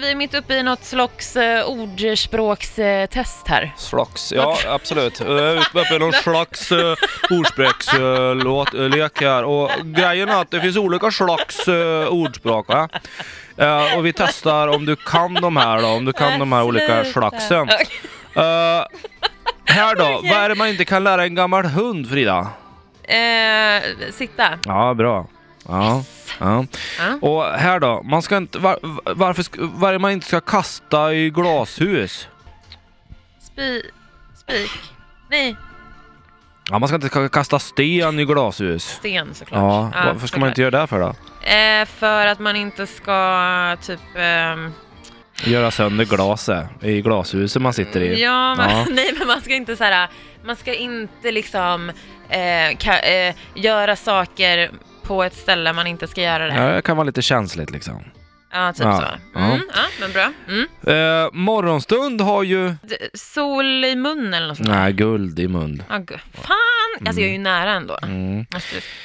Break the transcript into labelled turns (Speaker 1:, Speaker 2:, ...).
Speaker 1: vi är mitt uppe i något slags eh, ordspråkstest här.
Speaker 2: Slags, ja absolut. Jag är uppe i någon slags uh, ordspråkslek eh, här och grejen är att det finns olika slags eh, ordspråk va? Eh, och vi testar om du kan de här då, om du kan de här olika
Speaker 1: Sluta.
Speaker 2: slagsen. Eh, här då, vad är det man inte kan lära en gammal hund Frida?
Speaker 1: Eh, sitta.
Speaker 2: Ja, bra. Ja. Ja.
Speaker 1: Ja.
Speaker 2: Och här då, man ska inte, var, varför, sk- vad är det man inte ska kasta i glashus?
Speaker 1: Spi... Spik. Nej,
Speaker 2: Ja, man ska inte ka- kasta sten i glashus.
Speaker 1: sten såklart.
Speaker 2: Ja, varför ska man inte
Speaker 1: såklart.
Speaker 2: göra det för då?
Speaker 1: Eh, för att man inte ska typ... ehm,
Speaker 2: Göra sönder glaset i glashuset man sitter i.
Speaker 1: Ja, men,
Speaker 2: Ja.
Speaker 1: nej men man ska inte så här, man ska inte liksom eh, ka, eh, göra saker på ett ställe man inte ska göra det.
Speaker 2: Ja, det kan vara lite känsligt liksom.
Speaker 1: Ja, typ
Speaker 2: Ja,
Speaker 1: så. Mm, ja, men bra. Mm.
Speaker 2: Eh, morgonstund har ju...
Speaker 1: D- Sol i munnen eller något sånt där.
Speaker 2: Nej, guld i mun.
Speaker 1: Ja, gu- fan! Alltså jag är ju nära ändå.
Speaker 2: Mm.
Speaker 1: Måste-